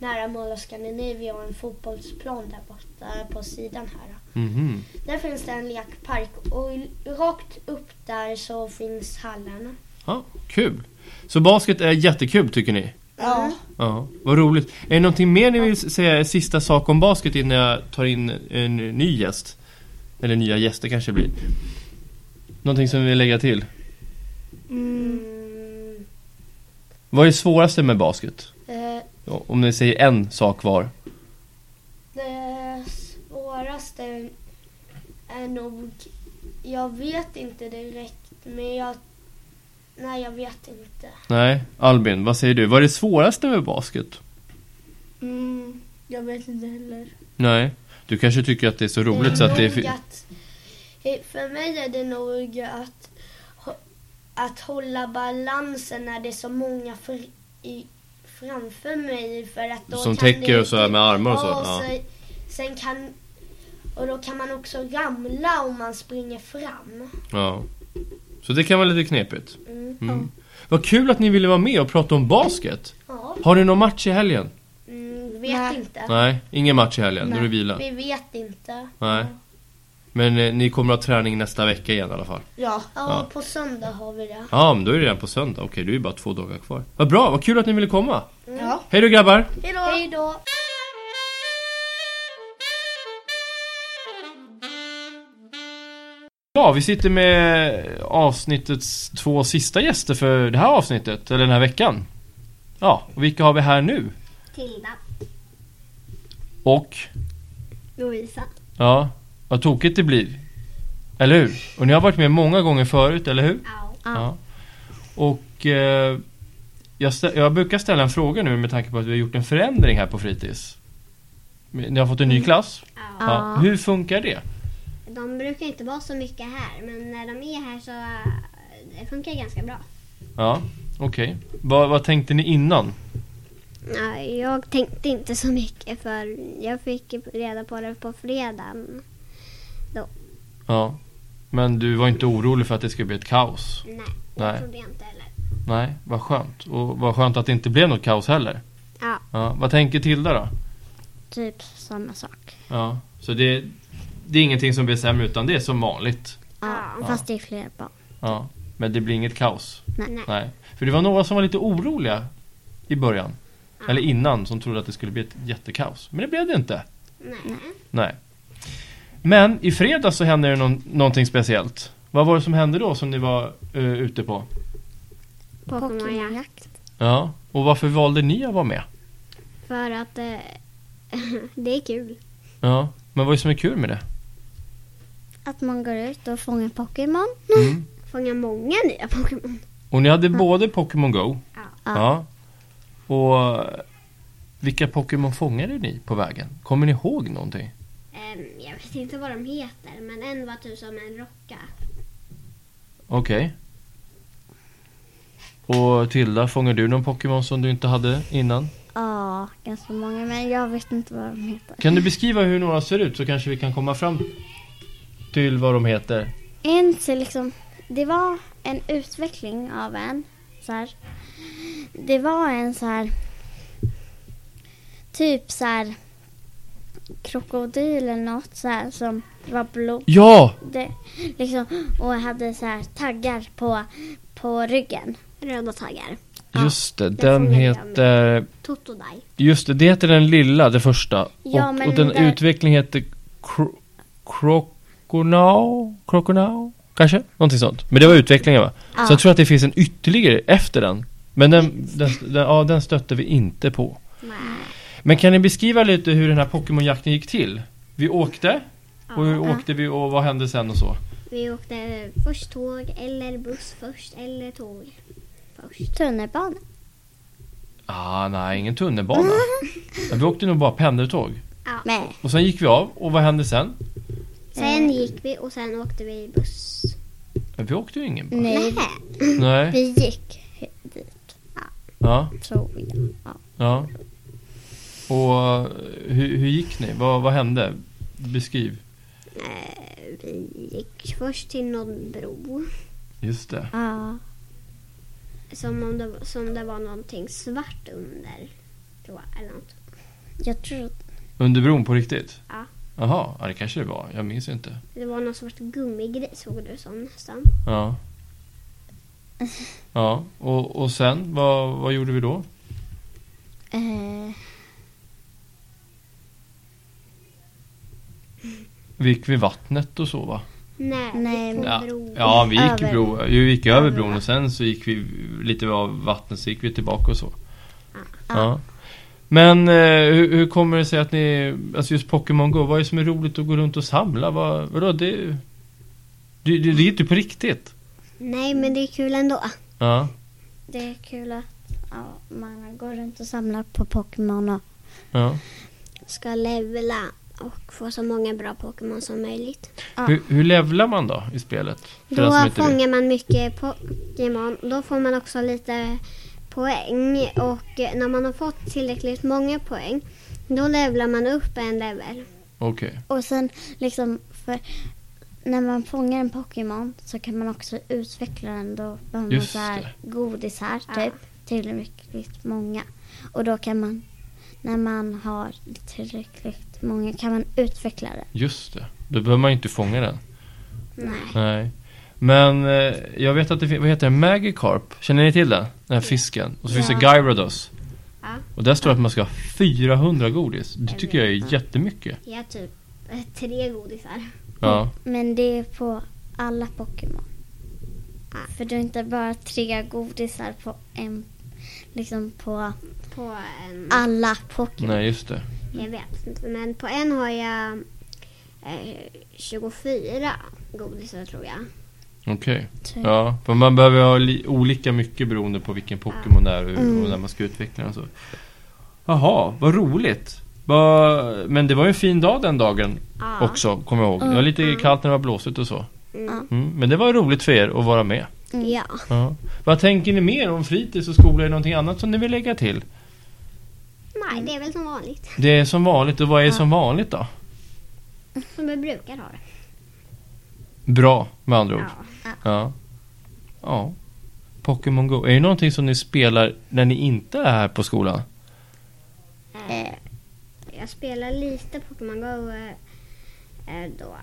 Speaker 1: Nära Mall of Scandinavia och en fotbollsplan där borta på sidan här.
Speaker 3: Mhm.
Speaker 1: Där finns det en lekpark och i- rakt upp där så finns hallen.
Speaker 3: Ja, kul. Så basket är jättekul tycker ni?
Speaker 5: Ja.
Speaker 3: Ja, vad roligt. Är det någonting mer ni vill säga, sista sak om basket innan jag tar in en ny gäst? Eller nya gäster kanske det blir. Någonting som vi vill lägga till?
Speaker 1: Mm.
Speaker 3: Vad är svåraste med basket?
Speaker 1: Eh,
Speaker 3: Ja, Om ni säger en sak var.
Speaker 1: Det svåraste är nog... Jag vet inte direkt, men jag... Nej, jag vet inte.
Speaker 3: Nej, Albin, vad säger du? Vad är det svåraste med basket?
Speaker 5: Mm, jag vet inte heller.
Speaker 3: Nej, du kanske tycker att det är så roligt så att det är...
Speaker 1: nog
Speaker 3: fi-
Speaker 1: att- eh, För mig är det nog att, hå- att hålla balansen när det är så många fr, i, framför mig. För att då
Speaker 3: Som
Speaker 1: kan
Speaker 3: täcker
Speaker 1: det,
Speaker 3: och så här med armar och så,
Speaker 1: Ja,
Speaker 3: ja.
Speaker 1: så- Sen kan, och då kan man också ramla om man springer fram.
Speaker 3: Ja. Så det kan vara lite knepigt.
Speaker 1: Mm.
Speaker 3: Mm. Vad kul att ni ville vara med och prata om basket.
Speaker 1: Ja,
Speaker 3: Har ni någon match i helgen?
Speaker 1: mm, vet
Speaker 5: Nej.
Speaker 1: inte.
Speaker 3: Nej, ingen match i helgen. Då är det vila.
Speaker 1: Vi vet inte.
Speaker 3: Nej. Men eh, ni kommer att ha träning nästa vecka igen i alla fall.
Speaker 5: Ja.
Speaker 1: Ja,
Speaker 3: Ja.
Speaker 1: på söndag har vi det.
Speaker 3: Ja, men då är det redan på söndag. Okej, det är ju bara två dagar kvar. Vad bra, vad kul att ni ville komma.
Speaker 5: Ja.
Speaker 3: Mm. Hej då grabbar!
Speaker 1: Hej då!
Speaker 3: Ja, vi sitter med avsnittets två sista gäster för det här avsnittet, eller den här veckan. Ja, och vilka har vi här nu?
Speaker 2: Tilda,
Speaker 3: Och,
Speaker 2: Lovisa.
Speaker 3: ja, vad tokigt det blir. Eller hur? Och ni har varit med många gånger förut, eller hur?
Speaker 2: Ja.
Speaker 3: Ja. Och eh, jag, stä- jag brukar ställa en fråga nu med tanke på att vi har gjort en förändring här på fritids. Ni har fått en ny klass.
Speaker 2: Ja.
Speaker 3: Ja. Hur funkar det?
Speaker 2: De brukar inte vara så mycket här, men när de är här så eh, det funkar ganska bra.
Speaker 3: Ja, okej. Vad, vad tänkte ni innan?
Speaker 2: Ja, jag tänkte inte så mycket för jag fick reda på det på fredagen.
Speaker 3: Ja. Men du var inte orolig för att det skulle bli ett kaos?
Speaker 2: Nej, det
Speaker 3: Nej.
Speaker 2: trodde jag inte heller.
Speaker 3: Nej, vad skönt. Och vad skönt att det inte blev något kaos heller.
Speaker 2: Ja.
Speaker 3: ja. Vad tänker Tilda då?
Speaker 2: Typ samma sak.
Speaker 3: Ja. Så det, det är ingenting som blir sämre utan det är som vanligt?
Speaker 2: Ja, fast det är fler barn.
Speaker 3: Ja. Men det blir inget kaos?
Speaker 2: Nej.
Speaker 3: Nej, för det var några som var lite oroliga i början. Eller innan, som trodde att det skulle bli ett jättekaos. Men det blev det inte.
Speaker 2: Nej.
Speaker 3: Nej. Men i fredags så hände det eh, någon, någonting speciellt. Vad var det som hände då som ni var uh, ute på?
Speaker 2: På Pokémonjakt.
Speaker 3: Ja. Och varför valde ni att vara med?
Speaker 2: För att eh, det är kul.
Speaker 3: Ja. Men vad är det som är kul med det?
Speaker 2: Att man går ut och fångar Pokémon.
Speaker 3: Mm.
Speaker 2: Fångar många nya Pokémon.
Speaker 3: Och ni hade både Pokémon Go.
Speaker 2: Ja.
Speaker 3: ja. Och eh, vilka Pokémon fångade ni på vägen? Kommer ni ihåg någonting?
Speaker 2: Ehm, jag vet inte vad de heter, men en var typ som en rocka.
Speaker 3: Okej. Och Tilda, fångar du någon Pokémon som du inte hade innan?
Speaker 6: Ja, ganska många, men jag vet inte vad de heter.
Speaker 3: Kan du beskriva hur några ser ut så kanske vi kan komma fram till vad de heter?
Speaker 6: En till liksom, det var en utveckling av en. Så här. Det var en så här, typ så här, krokodil eller något så här som var blå.
Speaker 3: Ja!
Speaker 6: Det, liksom, och hade så här taggar på, på ryggen. Röda taggar. Ja,
Speaker 3: Just det,
Speaker 6: den
Speaker 3: den
Speaker 6: fångade jag med.
Speaker 3: heter...
Speaker 6: Totodile.
Speaker 3: Just det, det heter den lilla, det första.
Speaker 6: Ja,
Speaker 3: och,
Speaker 6: men
Speaker 3: och den
Speaker 6: där-
Speaker 3: utveckling heter Kro- Croconau? Croconau? Kanske? Någonting sånt. Men det var utvecklingen va? Så jag tror att det finns en ytterligare efter den. Men den, den, den, ja, den stötte vi inte på.
Speaker 6: Mm.
Speaker 3: Men kan ni beskriva lite hur den här Pokémonjakten gick till? Vi åkte, och hur åkte vi och vad hände sen och så?
Speaker 2: Vi åkte först tåg, eller buss först, eller tåg.
Speaker 6: Tunnelbana.
Speaker 3: Ah, nej, ingen tunnelbana. Ja, vi åkte nog bara pendeltåg.
Speaker 6: Med
Speaker 3: Och sen gick vi av, och vad hände sen?
Speaker 6: Mm.
Speaker 2: Sen gick vi och sen åkte vi buss.
Speaker 3: Men Vi åkte ju ingen buss.
Speaker 6: Nej,
Speaker 3: Nej.
Speaker 6: vi gick dit,
Speaker 3: Ja,
Speaker 6: tror jag.
Speaker 3: ja. Och eh, hur, hur gick ni? Vad, vad hände? Beskriv.
Speaker 2: Eh, Vi gick först till någon bro.
Speaker 3: Just det.
Speaker 6: Ja.
Speaker 2: Som om det, som det var någonting svart under. Tror jag, eller något.
Speaker 6: Jag tror
Speaker 3: Under bron på riktigt?
Speaker 2: Ja.
Speaker 3: Jaha, ja, det kanske det var. Jag minns inte.
Speaker 2: Det var någon sorts gummigrej såg du som nästan.
Speaker 3: Ja. Ja, och, och sen? Vad, vad gjorde vi då?
Speaker 6: eh,
Speaker 3: Vi gick vid vattnet och så va?
Speaker 2: Nej,
Speaker 6: Nej,
Speaker 2: vi gick på
Speaker 3: Ja,
Speaker 2: bro.
Speaker 3: ja vi gick,
Speaker 6: Över.
Speaker 3: bro, vi gick över bron och sen så gick vi lite av vattnet så gick vi tillbaka och så. Ja. Men eh, hur, hur kommer det sig att ni, alltså just Pokémon Go, vad är det som är roligt att gå runt och samla? Vad, vadå, det, det, det, det är ju inte på riktigt.
Speaker 2: Nej, men det är kul ändå.
Speaker 3: Ja.
Speaker 6: det är kul att ja, man går runt och samlar på Pokémon och
Speaker 3: ja.
Speaker 2: Ska levla och få så många bra Pokémon som möjligt.
Speaker 6: Ja.
Speaker 3: Hur, hur levlar man då i spelet? För den som
Speaker 2: Då
Speaker 3: inte vet.
Speaker 2: fångar man mycket Pokémon. Då får man också lite poäng. Och eh, när man har fått tillräckligt många poäng, då levlar man upp en level.
Speaker 3: Okej.
Speaker 6: Och sen liksom, för när man fångar en Pokémon så kan man också utveckla den. Då behöver man
Speaker 3: Just
Speaker 6: så här godisar typ, tillräckligt många. Och då kan man, när man har tillräckligt många, kan man utveckla den.
Speaker 3: Just det. Då behöver man ju inte fånga den.
Speaker 2: Nej.
Speaker 3: Nej. Men eh, jag vet att det finns, vad heter det, Magikarp? Känner ni till den? Den här fisken. Och så finns det Gyarados.
Speaker 2: Ja.
Speaker 3: Och där står det att man ska ha 400 godis. Det tycker jag är jättemycket.
Speaker 2: Jag har typ eh, tre godisar.
Speaker 3: Ja.
Speaker 6: Men det är på alla Pokémon. För du har inte bara tre godisar på en, liksom på
Speaker 2: På en...
Speaker 6: alla Pokémon.
Speaker 3: Nej, just det.
Speaker 2: Jag vet inte. Men på en har jag eh, 24 godisar tror jag.
Speaker 3: Okej.
Speaker 6: Typ.
Speaker 3: Ja, för man behöver ha li- olika mycket beroende på vilken Pokémon det är och,
Speaker 2: Mm.
Speaker 3: och när man ska utveckla den och så. Jaha, vad roligt. Vad- Men det var ju en fin dag den dagen
Speaker 2: Ja.
Speaker 3: också, kommer jag ihåg. Det var lite kallt när det var blåsigt och så.
Speaker 2: Mm.
Speaker 3: Mm, men det var roligt för er att vara med.
Speaker 2: Ja.
Speaker 3: Ja. Vad tänker ni mer om fritids och skola? Är det någonting annat som ni vill lägga till?
Speaker 2: Nej, det är väl som vanligt.
Speaker 3: Det är som vanligt, och vad är som vanligt då?
Speaker 2: Som vi brukar ha det.
Speaker 3: Bra, med andra ord.
Speaker 2: Ja.
Speaker 3: Ja. Ja. Pokémon Go. Är det någonting som ni spelar när ni inte är här på skolan?
Speaker 2: Eh, jag spelar lite Pokémon Go eh, eh, då.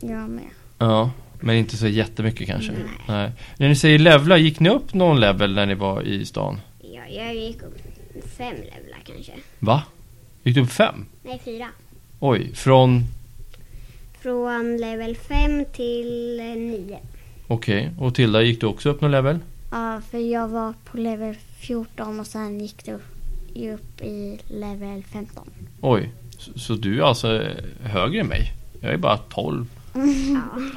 Speaker 6: Jag med.
Speaker 3: Ja, men inte så jättemycket kanske. Nej. När ni säger levla, gick ni upp någon level när ni var i stan?
Speaker 2: Jag, jag gick upp fem levlar kanske.
Speaker 3: Va? Gick du upp fem?
Speaker 2: Nej, fyra.
Speaker 3: Oj, från...
Speaker 2: Från level fem till eh, nio.
Speaker 3: Okej, och Tilda, gick du också upp någon level?
Speaker 2: Ja, för jag var på level 14 och sen gick det upp- upp i level 15.
Speaker 3: Oj, så, så du är alltså högre än mig? Jag är bara 12. Ja,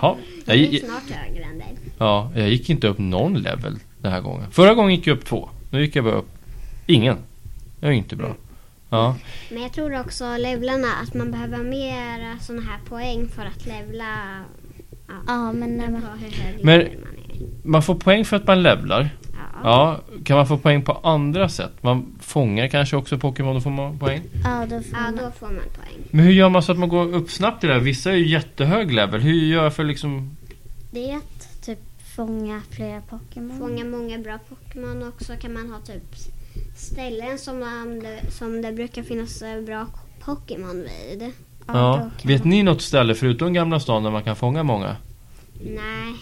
Speaker 3: jag,
Speaker 1: Jag är
Speaker 3: gick-
Speaker 1: snart högre än dig.
Speaker 3: ja, jag gick inte upp någon level den här gången. Förra gången gick jag upp två. Nu gick jag bara upp ingen. Det är ju inte bra. Ja,
Speaker 1: Men jag tror också levlarna, att man behöver mer sådana här poäng för att levla
Speaker 2: Ja, men när
Speaker 1: på
Speaker 2: man,
Speaker 1: hur hög
Speaker 3: Men-
Speaker 1: level man är.
Speaker 3: man får poäng för att man levlar.
Speaker 1: Ja.
Speaker 3: Ja, kan man få poäng på andra sätt? Man fångar kanske också Pokémon, då får man poäng.
Speaker 2: ja, då får
Speaker 1: ja,
Speaker 2: man,
Speaker 1: då får man poäng.
Speaker 3: Men hur gör man så att man går upp snabbt i det här? Vissa är ju jättehög level. Hur gör jag för liksom...
Speaker 2: det är att typ fånga flera Pokémon.
Speaker 1: Fånga många bra Pokémon och så kan man ha typ ställen som, man, som det brukar finnas eh, bra Pokémon vid.
Speaker 3: Ja.
Speaker 2: då kan
Speaker 3: Vet
Speaker 2: man-
Speaker 3: ni något ställe förutom Gamla stan där man kan fånga många?
Speaker 1: Nej,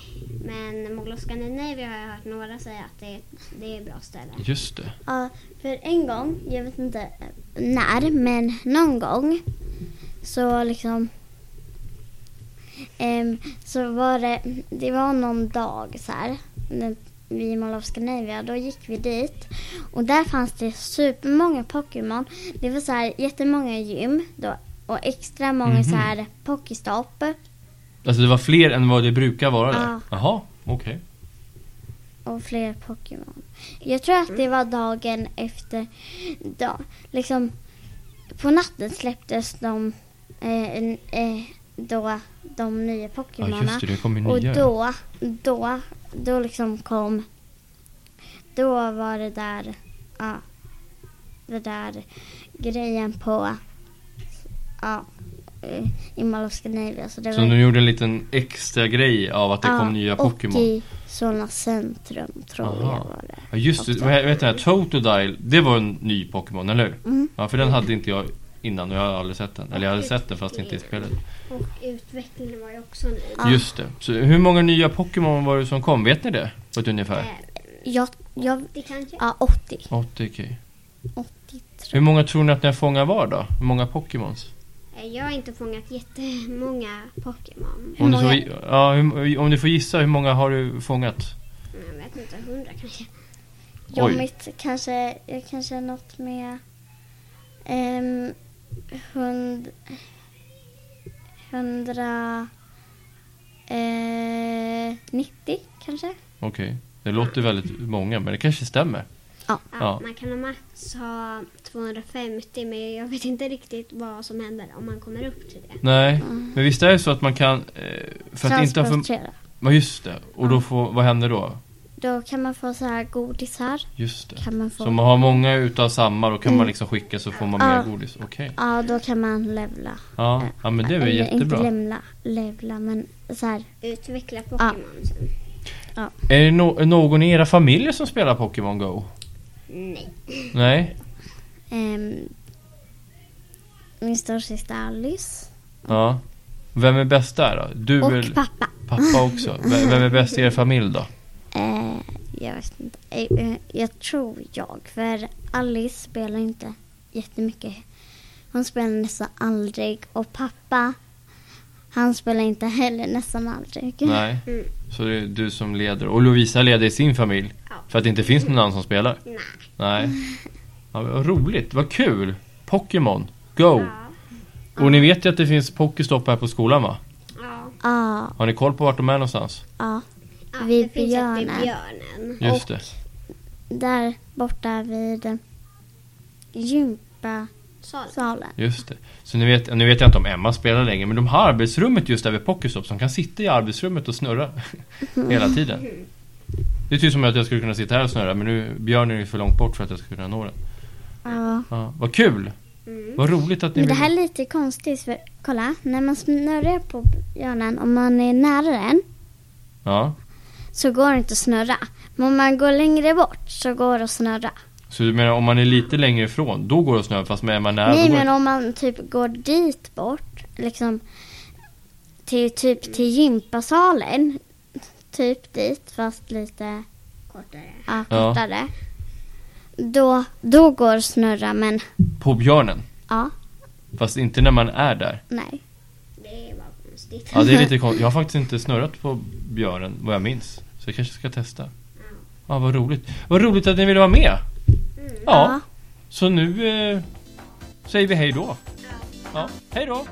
Speaker 1: men Mogloska Nineveh har jag hört några säga att det, det är bra ställe.
Speaker 3: Just det.
Speaker 2: Ja, för en gång, jag vet inte när, men någon gång så liksom ehm, så var det, det var någon dag så här, när vi i Mall of Scandinavia, då gick vi dit och där fanns det supermånga Pokémon. Det var så här jättemånga gym då, och extra många
Speaker 3: Mhm.
Speaker 2: så här Pokéstopp.
Speaker 3: Alltså det var fler än vad det brukar vara där?
Speaker 2: Ja.
Speaker 3: Jaha, okej.
Speaker 2: och fler Pokémon. Jag tror att det var dagen efter dag. Liksom, på natten släpptes de, eh, en- eh, då, de nya
Speaker 3: Ja
Speaker 2: Pokémonerna.
Speaker 3: just det, det kommer ju
Speaker 2: och
Speaker 3: nya.
Speaker 2: då, då, då liksom kom, då var det där, ja, det där grejen på, ja, eh, i Mall of Scandinavia. Så det
Speaker 3: Så
Speaker 2: var
Speaker 3: de gjorde en liten extra grej av att det
Speaker 2: ja,
Speaker 3: kom nya
Speaker 2: Och
Speaker 3: Pokémon.
Speaker 2: i Solna centrum tror
Speaker 3: Aha.
Speaker 2: jag var det.
Speaker 3: Ja just det, vad he- vet du, den här Totodile, det var en ny Pokémon, eller hur?
Speaker 2: Mm.
Speaker 3: Ja för den hade inte jag innan och jag har aldrig sett den. Eller jag hade sett den fast inte i spelet.
Speaker 1: Och utvecklingen var ju också ny.
Speaker 2: Ja.
Speaker 3: Just det. Så hur många nya Pokémon var det som kom? Vet ni det? På ett ungefär?
Speaker 1: Eh,
Speaker 2: Jag, jag,
Speaker 1: Det kanske...
Speaker 2: ja 80.
Speaker 3: 80 okej.
Speaker 2: 80
Speaker 3: Hur många tror ni att ni har fångat var då? Hur många Pokémons?
Speaker 1: Eh, Jag har inte fångat jättemånga Pokémon.
Speaker 3: Om, du
Speaker 2: många-
Speaker 3: får gi- ja, hur- om du får gissa, hur många har du fångat?
Speaker 1: Jag vet inte, hundra kanske.
Speaker 2: Ja,
Speaker 3: Oj.
Speaker 2: mitt kanske, jag kanske är något med ehm, hund, hundra, eh, 90 kanske.
Speaker 3: Okej. Det låter väldigt många, men det kanske stämmer.
Speaker 1: Ja,
Speaker 3: Ja.
Speaker 1: Man kan ha max ha 250 men jag vet inte riktigt vad som händer om man kommer upp till det.
Speaker 3: Nej, men visst är det så att man kan... eh, För att inte ha för...
Speaker 2: Transportera.
Speaker 3: Ja, just det. Och då får... Vad händer då?
Speaker 2: Då kan man få så här godisar.
Speaker 3: Just det.
Speaker 2: Kan man få.
Speaker 3: Så om man har många utav samma, då kan man liksom skicka så får man
Speaker 2: Ja.
Speaker 3: mer godis. Okej.
Speaker 2: Ja, då kan man levla.
Speaker 3: Ja. ja, men det är väl
Speaker 2: Eller Inte
Speaker 3: jättebra.
Speaker 2: levla, levla men så här.
Speaker 1: Utveckla
Speaker 5: Ah.
Speaker 1: Pokémon sen.
Speaker 3: Är det no- någon i era familjer som spelar Pokémon Go?
Speaker 1: Nej.
Speaker 3: Nej?
Speaker 2: ehm, min storasyster Alice
Speaker 3: Ja. Vem är bäst där då? Du
Speaker 2: och
Speaker 3: eller
Speaker 2: pappa.
Speaker 3: pappa också? V- Vem är bäst i er familj då?
Speaker 2: Eh, jag vet inte. Eh, eh, jag tror jag. För Alice spelar inte jättemycket. Hon spelar nästan aldrig. Och pappa, han spelar inte heller nästan aldrig.
Speaker 3: Nej.
Speaker 1: Mm.
Speaker 3: Så det är du som leder. Och Lovisa leder i sin familj.
Speaker 1: Ja.
Speaker 3: För att det inte finns någon annan som spelar.
Speaker 1: Nej.
Speaker 3: Nej. Ja, men vad roligt. Vad kul. Pokémon. Go.
Speaker 1: Ja.
Speaker 3: Och ni vet ju att det finns Pokéstopp här på skolan va?
Speaker 1: Ja.
Speaker 2: Ja,
Speaker 3: Har ni koll på vart de är någonstans?
Speaker 2: ja.
Speaker 1: ja
Speaker 2: Vid
Speaker 1: det finns ett vid
Speaker 2: björnen.
Speaker 1: björnen.
Speaker 3: Just det.
Speaker 2: Där borta vid eh, gympasalen.
Speaker 1: Sal.
Speaker 3: Just det. Så nu vet, nu vet jag inte om Emma spelar längre, men de har arbetsrummet just där vid Pokéstop som kan sitta i arbetsrummet och snurra hela
Speaker 1: Mm.
Speaker 3: tiden. Det är typ som att jag skulle kunna sitta här och snurra, men nu Björn är ju för långt bort för att jag ska kunna nå den.
Speaker 2: Ja.
Speaker 3: Ja, vad kul!
Speaker 1: Mm.
Speaker 3: Vad roligt att ni
Speaker 2: Men det
Speaker 3: vill...
Speaker 2: här är lite konstigt för kolla, när man snurrar på björnen, om man är nära den
Speaker 3: Ja,
Speaker 2: så går det inte att snurra. Men om man går längre bort så går det att snurra.
Speaker 3: så du menar om man är lite längre ifrån, då går det att snurra, fast med Emma nära
Speaker 2: Nej,
Speaker 3: då går det-
Speaker 2: men om man typ går dit bort, liksom till typ till gympasalen, typ dit fast lite
Speaker 1: Kortare.
Speaker 2: ja,
Speaker 3: Ja.
Speaker 2: kortare. Då, då går det att snurra, men
Speaker 3: På björnen.
Speaker 2: ja,
Speaker 3: Fast inte när man är där.
Speaker 2: nej.
Speaker 1: Det var konstigt.
Speaker 3: Ja, det är lite konstigt. Jag har faktiskt inte snurrat på björnen vad jag minns. Så jag kanske ska testa. Ja, vad roligt. Vad roligt att ni ville vara med.
Speaker 2: Mm.
Speaker 3: Ja. Så nu eh, säger vi hej då. Ja, hej då.